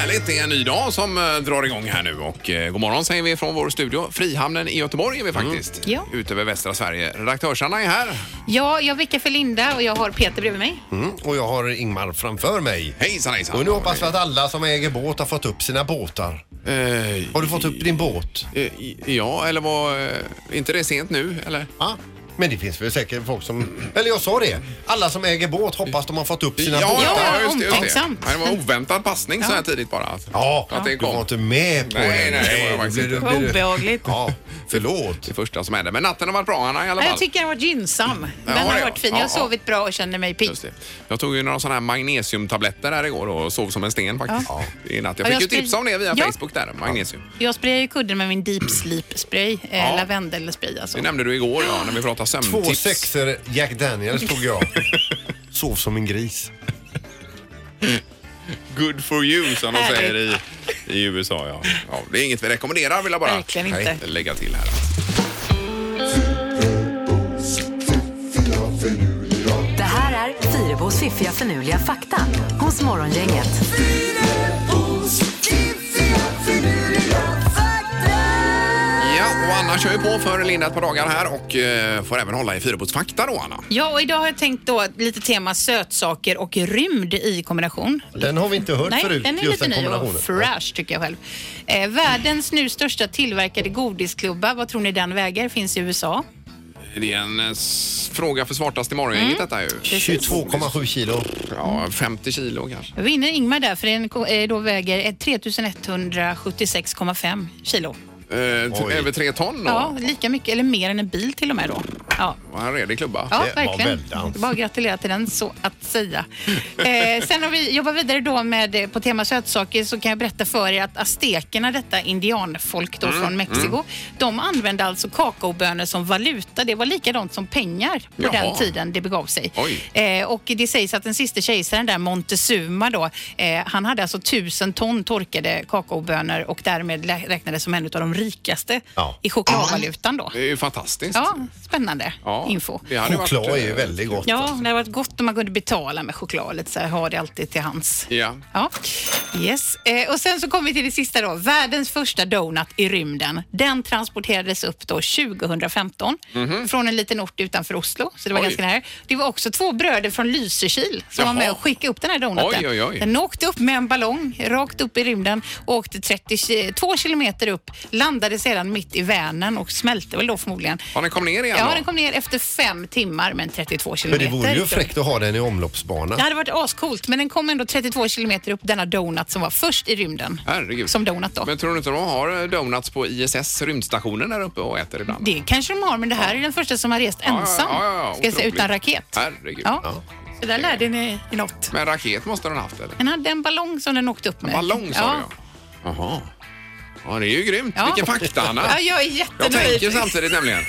Eh, det är en ny dag som eh, drar igång här nu och eh, god morgon säger vi från vår studio. Frihamnen i Göteborg är vi Mm. faktiskt. Ja. Ut över västra Sverige. Redaktörsarna är här. Ja, jag vickar för Linda och jag har Peter bredvid mig. Mm, och jag har Ingmar framför mig. Hejsan hejsan. Och nu hoppas vi att alla som äger båt har fått upp sina båtar. Eh, Har du fått upp din båt? eh, ja, eller var eh, inte det sent nu eller? Ja. Men det finns väl säkert folk som... Eller jag sa det. Alla som äger båt hoppas de har fått upp sina ja, båtar. ja, just det. Just det. omtänksamt. Ja, det var oväntad passning så här tidigt bara. Att, Ja, att det du var kom. inte med på Nej, den. nej, det var jag då faktiskt blir inte. Det var du- blir du- obehagligt. Ja, förlåt. Det första som hände. Men natten har varit bra Anna i alla fall. Nej, Mm. Jag tycker den har varit gynnsam. Den Ja, har ja. varit fin. Jag Ja, har ja. sovit bra och känner mig pigg. Just det. Jag tog ju några sådana här magnesiumtabletter här igår och sov som en sten faktiskt. Ja. I natt. Jag fick Ja, jag ju skulle- tips om det via Ja. Facebook där, magnesium. Jag sprayar ju kudden med min deep sleep spray, eh, lavendelspray alltså. Det nämnde du igår ja, när vi pratade Två sömntips. sexer Jack Daniels tog jag. Sov som en gris. Good for you som de Härligt. säger i, i USA. Ja. Ja, det är inget vi rekommenderar vill jag bara Verkligen inte. Nej, lägga till här. Det här är Fyrabos fiffiga förnuliga fakta hos Morgongänget. Ja, och Anna kör ju på för Linda ett par dagar här och eh, får även hålla i Fyrebåtsfakta då Anna. Ja, och idag har jag tänkt då lite tema sötsaker och rymd i kombination. Den har vi inte hört Nej, förut, den är just lite den ny och kombinationen. fresh tycker jag själv. Eh, världens nu största tillverkade godisklubba, vad tror ni den väger? Finns i USA. Det är en eh, s- fråga för smartast i morgongänget detta ju. 22,7 kilo. Ja, 50 kilo kanske. Då vinner Ingmar där för den ko- eh, då väger eh, 3176,5 kilo. Eh, t- Oj. över tre ton då? Ja, lika mycket eller mer än en bil till och med då. Ja. Och här är det klubba. Ja, Det var verkligen. väldans. Bara gratulera till den, så att säga. Eh, sen om vi jobbar vidare då med, eh, på tema sötsaker så kan jag berätta för er att aztekerna, detta indianfolk då från Mexiko, de använde alltså kakaobönor som valuta. Det var likadant som pengar på Jaha. den tiden det begav sig. Oj. Eh, och det sägs att den sista kejsaren där, Montezuma då, eh, han hade alltså tusen ton torkade kakaobönor och därmed lä- räknades som en av de rikaste Ja. i chokladvalutan då. Det är ju fantastiskt. Ja, spännande Ja, info. det hade varit, Choklad är ju eh, väldigt gott. Ja, det hade varit gott om man kunde betala med choklad. Lite så här, ha det alltid till hands. Ja. ja. Yes. Eh, och sen så kommer vi till det sista då. Världens första donut i rymden. Den transporterades upp då 2015 från en liten ort utanför Oslo. Så det var Mhm. Oj. ganska nära. Det var också två bröder från Lysekil som Jaha. var med och skickade upp den här donuten. Oj, oj, oj. Den åkte upp med en ballong rakt upp i rymden och åkte 32 kilometer upp. Landade sedan mitt i Vänern och smälte väl då förmodligen. Ja, den kom ner igen Ja, då? den kom ner efter fem timmar men 32 Men kilometer. det vore ju fräckt att ha den i omloppsbana. Det hade varit ascoolt, men den kom ändå 32 kilometer upp, denna donut som var först i rymden. Herregud. Som donut då. Men tror du inte de har eh, donuts på ISS, rymdstationen där uppe och äter ibland? Det kanske de har, men det här är den första som har rest ja, ensam. ja, ja, ska jag säga, otroligt. utan raket. Herregud. Ja. Så där lärde ni er något. Men raket måste den ha haft eller? Den hade en ballong som den åkte upp med. Ballong sa du ja. Jaha. Ja, det är ju grymt. Ja. Vilken fakta Anna. Ja, jag är Ah. Jag tänker jättenöjd. samtidigt nämligen.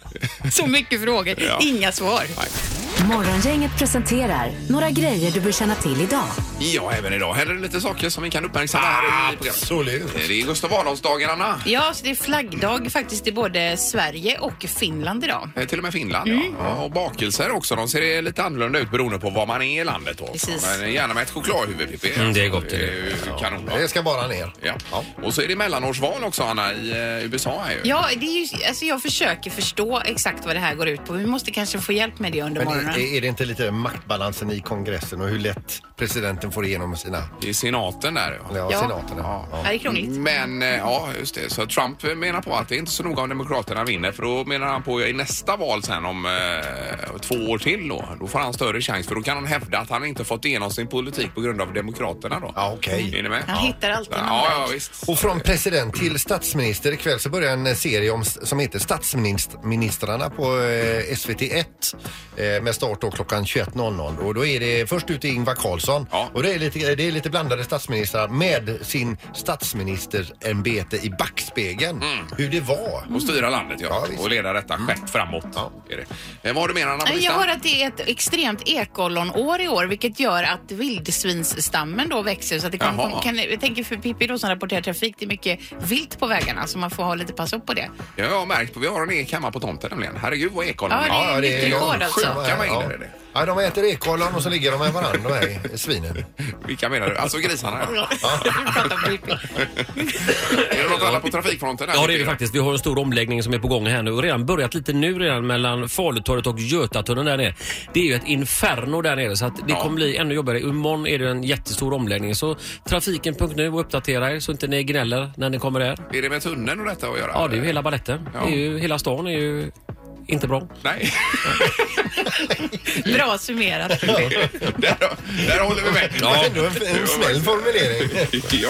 Så mycket frågor, Ja. inga svar. Morgongänget presenterar några grejer du bör känna till idag. Ja, även idag händer det lite saker som vi kan uppmärksamma Ah, här i programmet. Eh, Absolut. Det är Gustav Adolfsdagen Anna. Ja, så det är flaggdag faktiskt i både Sverige och Finland idag. Eh, Till och med Finland. Mm. Ja. Ja, och bakelser också. De ser lite annorlunda ut beroende på var man är i landet. Då. Precis. Men eh, gärna med ett chokladhuvud, Pippi. Mm, det är gott, det är det. ju Kanon. va? Det ska bara ner. Ja. Och så är det mellanårsval också, Anna, i eh, USA. Här ju. Ja, det är ju, alltså jag försöker förstå exakt vad det här går ut på. Vi måste kanske få hjälp med det under Men morgonen. är, är det inte lite maktbalansen i kongressen och hur lätt presidenten får igenom sina, I senaten där. ja, Ja. senaten? Ja. Ja, det är krångligt. Men eh, ja, just det. Så Trump menar på att det är inte så noga om Demokraterna vinner för då menar han på i nästa val sen om eh, två år till då. Då får han större chans för då kan han hävda att han inte fått igenom sin politik på grund av Demokraterna då. Ja, okej. Är ni med? Han hittar alltid ja, någon ja, väg. ja, visst. Och från president till statsminister. Ikväll så börjar en serie om, som heter Statsministrarna på eh, SVT1 eh, med start då klockan 21.00. Och då är det först ut är Ingvar Carlsson. Ja. Och det är, lite, det är lite blandade statsministrar med sin statsministerämbete i backspegeln. Hur det var. Och styra landet, ja. Ja, visst. Mm. och leda detta skepp framåt. Är det. Eh, vad har du mer, Anna, på Jag listan? hör att det är ett extremt ekollonår i år vilket gör att vildsvinsstammen då växer. Så att det kan, Jaha. kan, jag tänker för Pippi då som rapporterar trafik, det är mycket vilt på vägarna så man får ha lite pass upp på det. Ja, jag har märkt på, vi har en ek hemma på tomten nämligen. Herregud vad ekollon Ja, det är ja, det är mycket rekord sjukt. alltså. Sjuka Ja. mängder är det. Ja, de äter ekollon och så ligger de med varandra de här svinen. Vilka menar du? Alltså grisarna? ja. Vi pratar om Pippi. Är det något annat på trafikfronten? Där? Ja, det är det faktiskt. Vi har en stor omläggning som är på gång här nu och redan börjat lite nu redan mellan Falutorget och Götatunneln där nere. Det är ju ett inferno där nere så att det Ja. kommer bli ännu jobbigare. Imorgon är det en jättestor omläggning. Så trafiken.nu och uppdatera er så inte ni gnäller när ni kommer där. Är det med tunneln och detta att göra? Ja, det är ju hela baletten. Ja. Det är ju, hela stan är ju inte bra. Nej, Bra summerat. där, där håller vi med. Ja. Ändå en, en snäll formulering. Ja.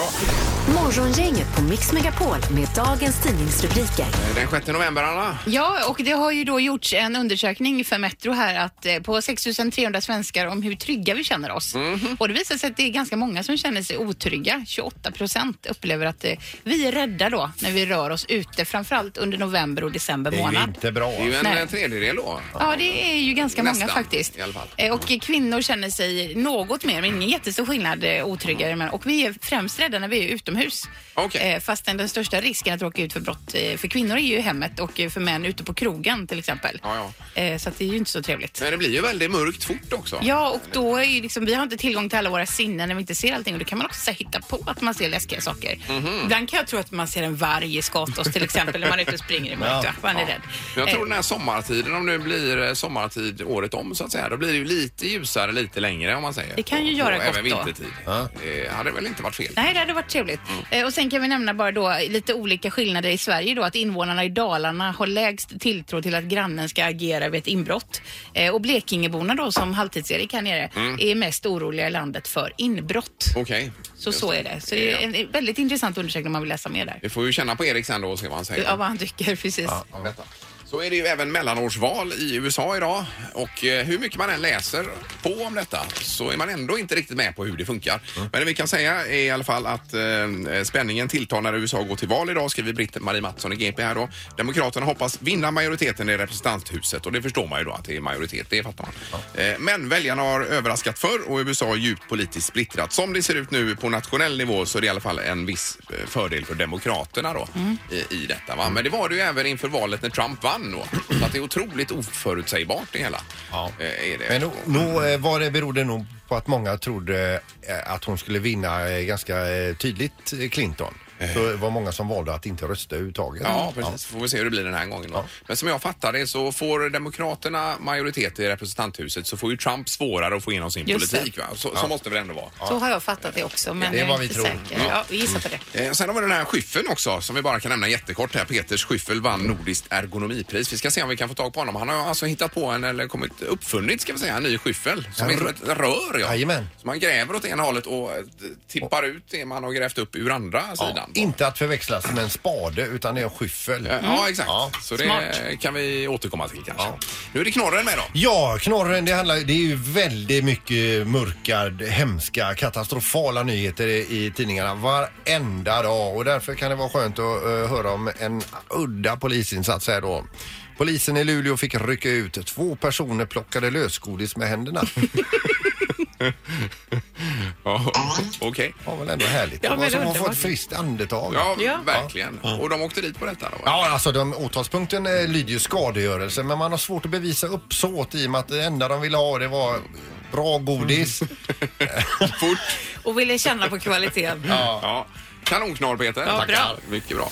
Morgongänget på Mix Megapol med dagens tidningsrubriker. Den 6 november, Anna. Ja, och det har ju då gjorts en undersökning för Metro här att eh, på 6300 svenskar om hur trygga vi känner oss. Och det visar sig att det är ganska många som känner sig otrygga. 28 procent upplever att eh, vi är rädda då när vi rör oss ute, framförallt under november och december Det är ju månad. inte bra. alltså. Det är ju en, Nej. en tredjedel då. Ja, det är ju ganska Nästan, många faktiskt. i alla fall. Eh, Och kvinnor känner sig något mer, men ingen jättestor skillnad, eh, otryggare. Men, och vi är främst rädda när vi är utomhus. Okej. Eh, Fastän den största risken att råka ut för brott eh, för kvinnor är ju i hemmet och eh, för män ute på krogen till exempel. Ja, Eh, Så att det är ju inte så trevligt. Men det blir ju väldigt mörkt fort också. Ja, och då är ju liksom, vi har inte tillgång till alla våra sinnen när vi inte ser allting och då kan man också så här, hitta på att man ser läskiga saker. Mhm. Ibland kan jag tro att man ser en varg i Skatås till exempel när man är ute och springer i mörkret. va? Man är rädd. Jag Eh, tror den här sommartiden, om det blir eh, sommartid året om så att säga, då blir det ju lite ljusare lite längre om man säger. Det kan ju Och- göra och gott även då. vintertid. Det hade väl inte varit fel. Nej, det hade varit trevligt. Mm. Eh, Och sen kan vi nämna bara då lite olika skillnader i Sverige då, att invånarna i Dalarna har lägst tilltro till att grannen ska agera vid ett inbrott. Eh, Och Blekingeborna då, som Halvtids-Erik här nere, Mm. är mest oroliga i landet för inbrott. Oh, Okej. Så så är det. Så det är en en väldigt intressant undersökning om man vill läsa mer där. Vi får ju känna på Erik sen då och se vad han säger. Ja, vad han tycker, precis. om detta. Så är det ju även mellanårsval i USA idag och eh, hur mycket man än läser på om detta så är man ändå inte riktigt med på hur det funkar. Men det vi kan säga är i alla fall att eh, spänningen tilltar när USA går till val idag skriver britten Marie Mattsson i GP här då. Demokraterna hoppas vinna majoriteten i representanthuset och det förstår man ju då att det är majoritet, det fattar man. Eh, men väljarna har överraskat förr och USA är djupt politiskt splittrat. Som det ser ut nu på nationell nivå så är det i alla fall en viss eh, fördel för demokraterna då Mm. eh, i, i detta. Va? Men det var det ju även inför valet när Trump vann då. Så att det är otroligt oförutsägbart det hela. Ja. Eh, Är det. Men nog, nog, eh, var det berodde nog på att många trodde eh, att hon skulle vinna eh, ganska eh, tydligt eh, Clinton. Så det var många som valde att inte rösta överhuvudtaget. Ja, precis. Får vi se hur det blir den här gången. Då. Men som jag fattar det så får Demokraterna majoritet i representanthuset så får ju Trump svårare att få igenom sin Just det. politik. Va? Så, så måste det väl ändå vara. Så har jag fattat det också, men Det är jag vad är vi inte tror. Mm. säker. Ja, vi gissar på det. Eh, sen har vi den här Schyffeln också som vi bara kan nämna jättekort här. Peters Schyffel vann Nordiskt ergonomipris. Vi ska se om vi kan få tag på honom. Han har alltså hittat på en, eller kommit uppfunnit ska vi säga, en ny skyffel. Som är som ett rör ja. Jajamän. Så man gräver åt ena hållet och eh, tippar ut det man har grävt upp ur andra sidan. Inte att förväxlas med en spade utan det är en skyffel. Eh, Ja, exakt. Så det Smart. kan vi återkomma till kanske. Nu är det knorren med då. Ja, knorren, det, handlar, det är ju väldigt mycket mörka, hemska, katastrofala nyheter i, i tidningarna varenda dag och därför kan det vara skönt att eh, höra om en udda polisinsats här då. Polisen i Luleå fick rycka ut. Två personer plockade lösgodis med händerna. Ja, okej. Det var väl ändå härligt. Ja, det var men som att få underbart. ett friskt andetag. Ja, Ja. verkligen. Och de åkte dit på detta då? va? Ja, alltså de, åtalspunkten eh, lyder ju skadegörelse men man har svårt att bevisa uppsåt i och med att det enda de ville ha det var bra godis. Fort. Och ville känna på kvaliteten. Ja. Kanonknorr Peter. Ja, bra. Tackar. Mycket bra.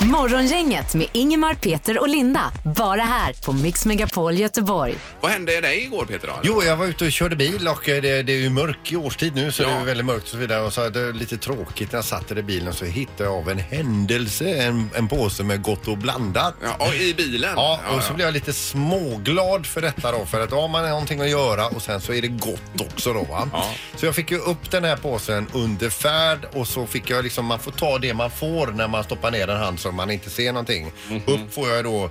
Morgongänget med Ingemar, Peter och Linda. Bara här på Mix Megapol Göteborg. Vad hände dig igår Peter? Då? Jo, jag var ute och körde bil och eh, det, det är ju mörk i årstid nu så Ja. det är väldigt mörkt och så vidare. Och så är det lite tråkigt när jag satt där i bilen så hittade jag av en händelse en, en påse med Gott och blandat. Ja. Ja, och i bilen? och så blev jag lite småglad för detta då för att ja, man har någonting att göra och sen så är det gott också då va. Ja. Så jag fick ju upp den här påsen under färd och så fick jag liksom, man får ta det man får när man stoppar ner en hand så man inte ser någonting. Mhm. Upp får jag då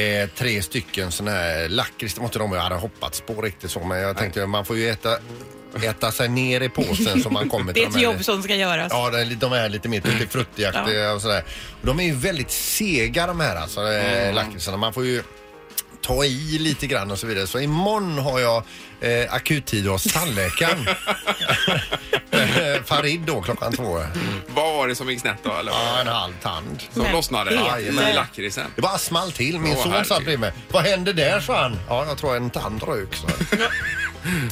Eh, tre stycken såna här lakrits, det var inte de jag hade hoppats på riktigt så men jag tänkte man får ju äta, äta sig ner i påsen så man kommer till Det är ett de här- jobb som ska göras. Ja, det är lite- de är lite mer Mm. tuttifruttiaktiga och sådär. Och de är ju väldigt sega de här alltså, mm. lakritsarna. Man eh, får ju ta i lite grann och så vidare. Så imorgon har jag eh, akuttid hos tandläkaren. Eh, Farid då klockan två. Vad var det som gick snett då? Eller? Ja, en halv tand. Som Men- lossnade Ja, i jajamän. lakritsen. Det var small till. Min Åh, son herregud. satt bredvid mig. Vad hände där sa han? Ja, jag tror en tand rök. sa han.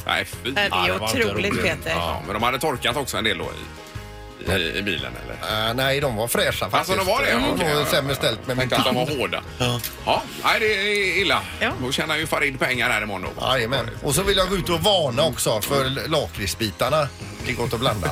Nej, fy. Det är det var inte otroligt roligt. Peter. Ja, men de hade torkat också en del då i, i, i bilen eller? Eh, nej, de var fräscha faktiskt. Alltså de var det? Det var Okej. sämre ställt med Jag min tänkte att de tand. var hårda. Ja, nej, det är illa. Ja. Då tjänar ju Farid pengar här imorgon då. Jajamän. Och så vill jag gå ut och varna också för lakritsbitarna. Det går inte att blanda.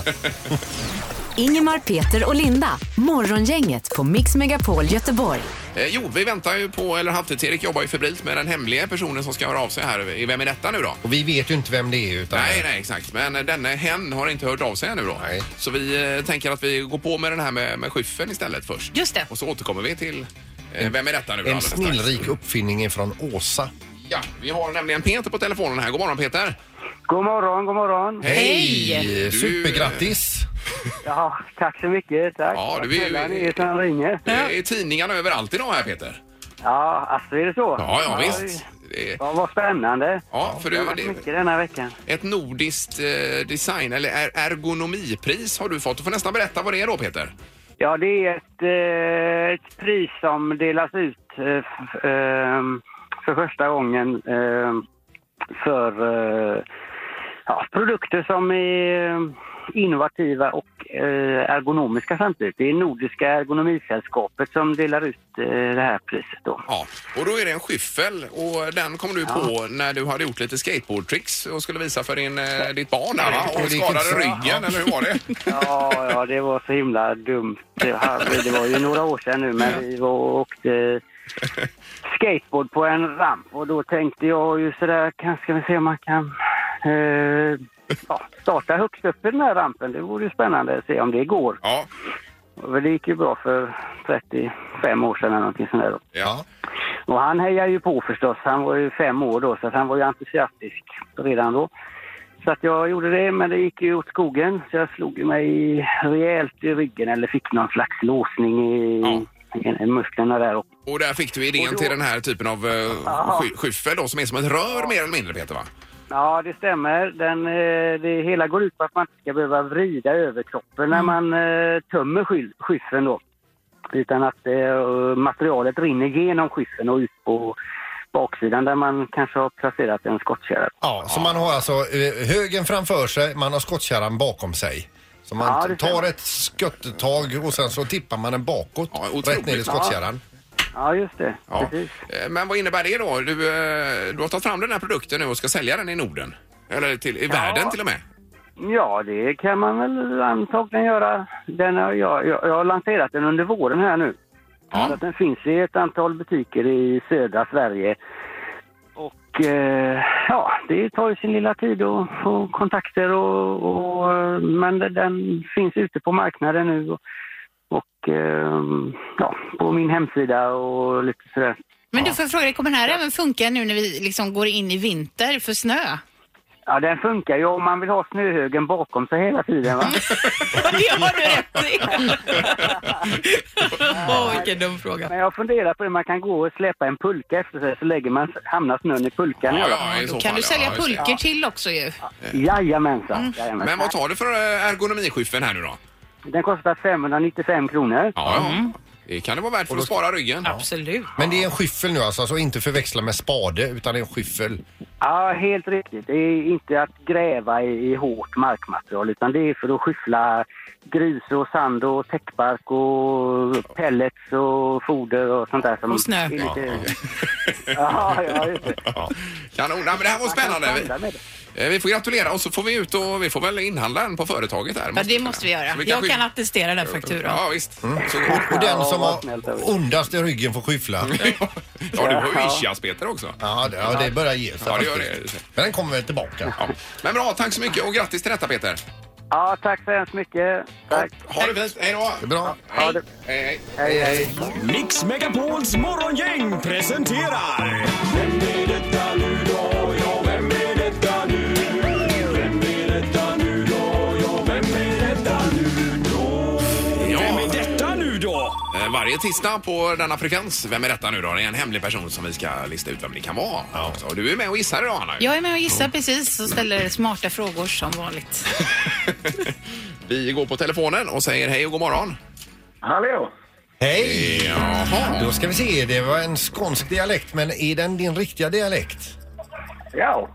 Ingemar, Peter och Linda. Morgongänget på Mix Megapol Göteborg. Eh, jo, vi väntar ju på, eller Halvtids-Erik jobbar ju febrilt med den hemliga personen som ska höra av sig här. I Vem är detta nu då? Och vi vet ju inte vem det är. Utan Nej, nej, exakt. Men eh, denne hen har inte hört av sig ännu då. Nej. Så vi eh, tänker att vi går på med den här med, med skyffen istället först. Just det. Och så återkommer vi till eh, Vem är detta nu då? En alldeles strax. snillrik uppfinning från Åsa. Ja, vi har nämligen Peter på telefonen här. God morgon Peter! God morgon, god morgon. Hej! Du- Supergrattis! Ja, tack så mycket. Tack. Ja, du är ju- Snälla ni som ringer. Det är tidningarna överallt idag här Peter. Ja, alltså är det så? Ja, ja visst. Det är, Ja, vad spännande. ja, för Det har du, varit mycket det, denna veckan. ett nordiskt eh, design eller er- ergonomipris har du fått. Du får nästan berätta vad det är då Peter. Ja, det är ett, eh, ett pris som delas ut eh, f- ehm, för första gången ehm, för eh, ja, produkter som är eh, innovativa och eh, ergonomiska samtidigt. Det är Nordiska ergonomisällskapet som delar ut eh, det här priset då. Ja, och då är det en skyffel och den kom du på när du hade gjort lite skateboardtricks och skulle visa för din, eh, ditt barn där, va? Och och det gick skadade inte så bra. ryggen Ja. eller hur var det? Ja, ja, det var så himla dumt. Det var- det var ju några år sedan nu, men vi var och åkte skateboard på en ramp och då tänkte jag ju sådär, kan- ska vi se om man kan eh, ja, starta högst upp i den här rampen. Det vore ju spännande att se om det går. Ja, Och Det gick ju bra för 35 år sedan eller någonting sånt där. då. ja. Och han hejar ju på förstås. Han var ju fem år då, så att han var ju entusiastisk redan då. Så att jag gjorde det, men det gick ju åt skogen. Så jag slog ju mig rejält i ryggen eller fick någon slags låsning i, Ja. i musklerna där. Och, Och där fick du idén Och då- till den här typen av eh, Ja. sky- skyffel då som är som ett rör mer eller mindre Peter va? ja, det stämmer. Den, eh, det hela går ut på att man inte ska behöva vrida över kroppen när man eh, tömmer sky- skyffen då. Utan att eh, materialet rinner genom skyffen och ut på baksidan där man kanske har placerat en skottkärra. Ja, så man har alltså eh, högen framför sig, man har skottkärran bakom sig. Så Ja, man det tar stämmer. ett sköttetag och sen så tippar man den bakåt, Ja, otroligt. rätt ner i skottkärran. Ja, just det. Ja. Precis. Eh, Men vad innebär det då? Du, eh, du har tagit fram den här produkten nu och ska sälja den i Norden? Eller till, i världen till och med? Ja, det kan man väl antagligen göra. Den har, jag, jag, jag har lanserat den under våren här nu. Ja. Så att den finns i ett antal butiker i södra Sverige. Och eh, ja, det tar ju sin lilla tid att få kontakter och, och eh, men den- den finns ute på marknaden nu och, och eh, ja, på min hemsida och lite sådär. Men du får jag fråga dig, kommer den här även funka nu när vi liksom går in i vinter för snö? Ja, den funkar ju om man vill ha snöhögen bakom sig hela tiden va? det har du rätt i. Åh, vilken dum fråga. Men jag funderar på hur man kan gå och släppa en pulka efter sig så lägger man, hamnar snön i pulkan. Ja, ja. i så Då kan fall, du sälja ja, just det. pulkor till också ju. Jajamensan. Jajamensan. Men vad tar du för eh, ergonomiskyffeln här nu då? Den kostar 595 kronor. Ja, ja. Det kan det vara värt för att spara ryggen. Absolut. Men det är en skyffel nu alltså, så inte förväxla med spade utan det är en skyffel. Ja, helt riktigt. Det är inte att gräva i, i hårt markmaterial utan det är för att skyffla grus och sand och täckbark och pellets och foder och sånt där. Som Och snö. är Lite... Ja, ja, just det. Kanon. Ja, men det här var Man kan spännande. sanda med det. Vi, eh, vi får gratulera och så får vi ut och vi får väl inhandla den på företaget där. Ja, det måste vi göra. Så Jag skicka- kan attestera den fakturan. Ja, visst. Mm. Så, Och den Ja, som vad har snällt av er. ondast i ryggen får skyffla. ja, du har ju ischias-Peter också. Ja, det, ja, det börjar ge sig. Ja, det gör faktiskt. det. Men den kommer väl tillbaka. Ja. Men bra, tack så mycket och grattis till detta Peter. Ja, tack så hemskt mycket. Tack. Ha det fint. Hej då. Det är bra. Ha det. Hej, hej. Hej, hej. Mix Megapols morgongäng presenterar... Vem är detta nu då? Ja, vem är detta nu? Vem är detta nu då? Ja, vem är detta nu då? Ja. Vem är detta nu då? Eh, Varje tisdag på denna frekvens. Vem är detta nu då? Det är en hemlig person som vi ska lista ut vem det kan vara. också. Och du är med och gissar idag Anna. Jag är med och gissar precis och ställer smarta frågor som vanligt. Vi går på telefonen och säger hej och god morgon. Hallå! Hej! Jaha. Då ska vi se, det var en skånsk dialekt men är den din riktiga dialekt? Ja.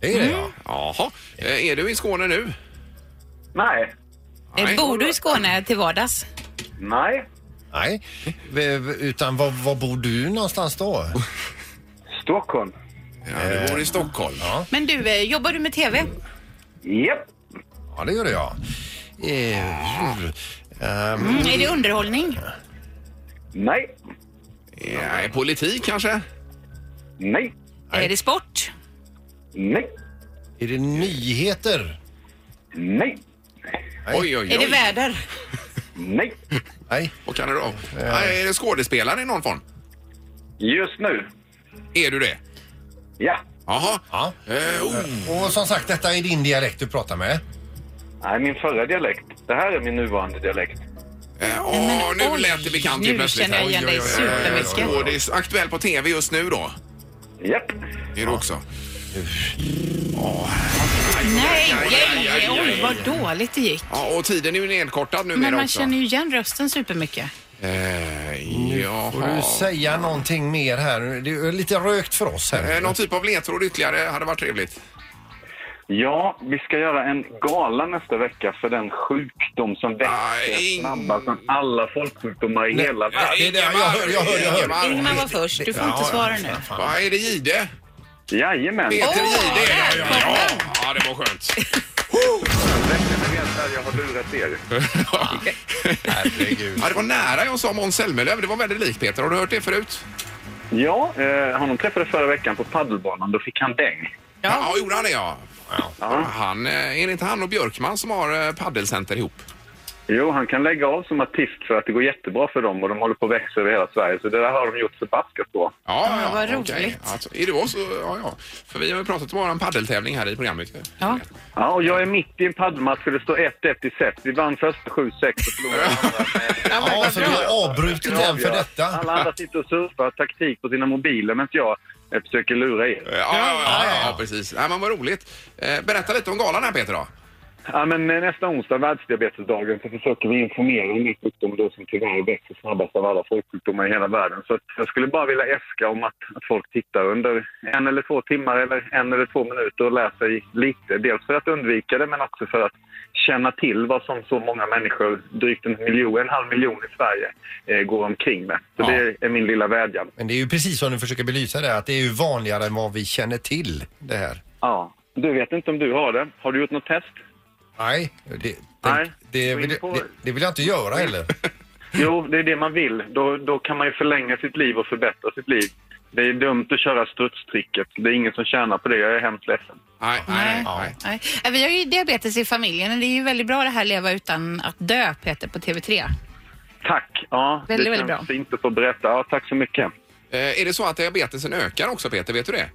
Det är det Mm. ja. Jaha. Eh, Är du i Skåne nu? Nej. Nej. Eh, Bor du i Skåne till vardags? Nej. Nej, V- v- utan var, var bor du någonstans då? Stockholm. Ja, du bor i Stockholm. Men du, eh, jobbar du med TV? Japp. Ja, det gör jag. Eh, ehm, Mm, är det underhållning? Nej. Ja, i politik kanske? Nej. Är det sport? Nej. är det nyheter? Nej. Oj, oj, oj. Är det väder? Nej. Nej. Vad kan det då? Ja, är det skådespelare i någon form? Just nu. Är du det? Ja. Jaha. Ja. Eh, oh. Och som sagt, detta är din dialekt du pratar med. Nej, min förra dialekt. Det här är min nuvarande dialekt. Eh, åh, nu oj, lät det bekant nu känner jag igen dig supermycket. Och det är aktuell på tv just nu då? Japp. Är det också? Nej, aj, aj, aj, nej, aj. oj vad dåligt det gick. Ja, och tiden är ju nedkortad nu Men man också. känner ju igen rösten supermycket. Eh, Får du jaha. säga någonting mer här? Det är lite rökt för oss Eh, här. någon typ av ledtråd ytterligare hade varit trevligt. Ja, vi ska göra en gala nästa vecka för den sjukdom som Aj. växer snabbast än alla folksjukdomar i hela Ja, världen. det är det. Jag hör, jag hör, jag hör. Ingemar. Ingmar var först, du får inte svara nu. Va, är det Jihde? Jajamän. Peter Åh, Jihde är det. Ja, ja, ja. välkommen. ja, det var skönt. Räcker med att jag har lurat er. Herregud. Ja, det var nära jag sa Måns Zelmerlöw. Det var väldigt likt Peter. Har du hört det förut? Ja, eh, honom träffade förra veckan på paddelbanan. Då fick han däng. Ja, gjorde han det ja. Ja. Han, eh, är det inte han och Björkman som har eh, paddelcenter ihop? Jo, han kan lägga av som artist för att det går jättebra för dem och de håller på att växa över hela Sverige. Så det där har de gjort förbaskat bra. Ja, Ja, vad okej. roligt. Alltså, är det också? Ja, ja. För vi har ju pratat om våran paddeltävling här i programmet. ju. Ja. Ja, och jag är mitt i en paddelmatch för det står 1-1 i set. Vi vann första 7-6 och förlorade andra med... Ja, så du har avbrutit den för detta. Alla andra sitter och surfar taktik på sina mobiler medan jag eh, försöker lura er. Ja, ja, ja, ja, ja precis. Ja, men vad roligt. Eh, Berätta lite om galan här Peter då. Ja, men eh, nästa onsdag, världsdiabetesdagen, så försöker vi informera om den sjukdom då som tyvärr växer snabbast av alla folksjukdomar i hela världen. Så att jag skulle bara vilja äska om att, att folk tittar under en eller två timmar eller en eller två minuter och lär sig lite. Dels för att undvika det, men också för att känna till vad som så många människor, drygt en miljon, en halv miljon i Sverige, eh, går omkring med. Så Ja. det är min lilla vädjan. Men det är ju precis som du försöker belysa det, att det är ju vanligare än vad vi känner till det här. Ja. Du vet inte om du har det. Har du gjort något test? Nej, det, Nej, det, det, gå in vill, på- det, det vill jag inte göra heller. Jo, det är det man vill. Då, då kan man ju förlänga sitt liv och förbättra sitt liv. Det är dumt att köra strutstricket. Det är ingen som tjänar på det. Jag är hemskt ledsen. Nej, nej, Nej. nej. Nej. Eh, Vi har ju diabetes i familjen och det är ju väldigt bra det här leva utan att dö, Peter, på TV3. Tack! Ja, Väldigt, det väldigt bra. fint att få berätta. Ja, tack så mycket. Eh, Är det så att diabetesen ökar också Peter? Vet du det?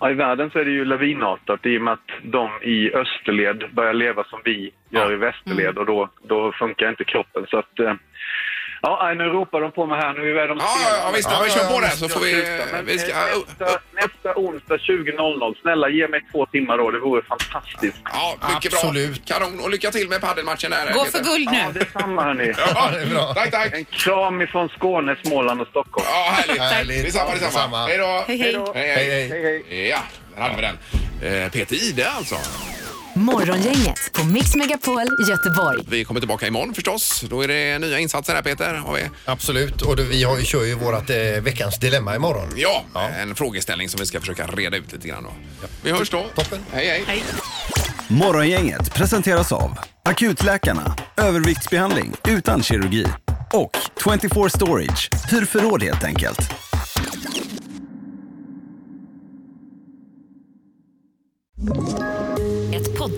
Ja, I världen så är det ju lavinartat i och med att de i österled börjar leva som vi gör i västerled och då, då funkar inte kroppen. Så att, eh, ja, nej, nu ropar de på mig här. Nu är de Ja, ja, ja visst. Ja, vi kör på det här så får vi... Men, vi ska, eh, nästa, nästa onsdag 20.00. Snälla ge mig två timmar då. Det vore fantastiskt. ja, mycket Absolut. bra. Kanon. Och lycka till med paddelmatchen här. Gå Peter. för guld Ja, nu. detsamma hörni. Ja, det är bra. Tack, tack. En kram ifrån Skåne, Småland och Stockholm. Ja, härligt. Härligt. Detsamma, detsamma. Detsamma. Hej då. Hej, hej. Hej, Hej, hej. hej. Ja, där hade vi den. Eh, Peter Ide alltså. Morgongänget på Mix Megapol Göteborg. Vi kommer tillbaka imorgon förstås. Då är det nya insatser här Peter. Har vi? Absolut, och det, vi har, ju- kör ju vårat eh, veckans dilemma imorgon. Ja, en frågeställning som vi ska försöka reda ut lite grann då. Vi hörs då. Toppen. Hej, hej. Morgongänget presenteras av Akutläkarna, överviktsbehandling utan kirurgi och 24 Storage, hur förråd helt enkelt. Ett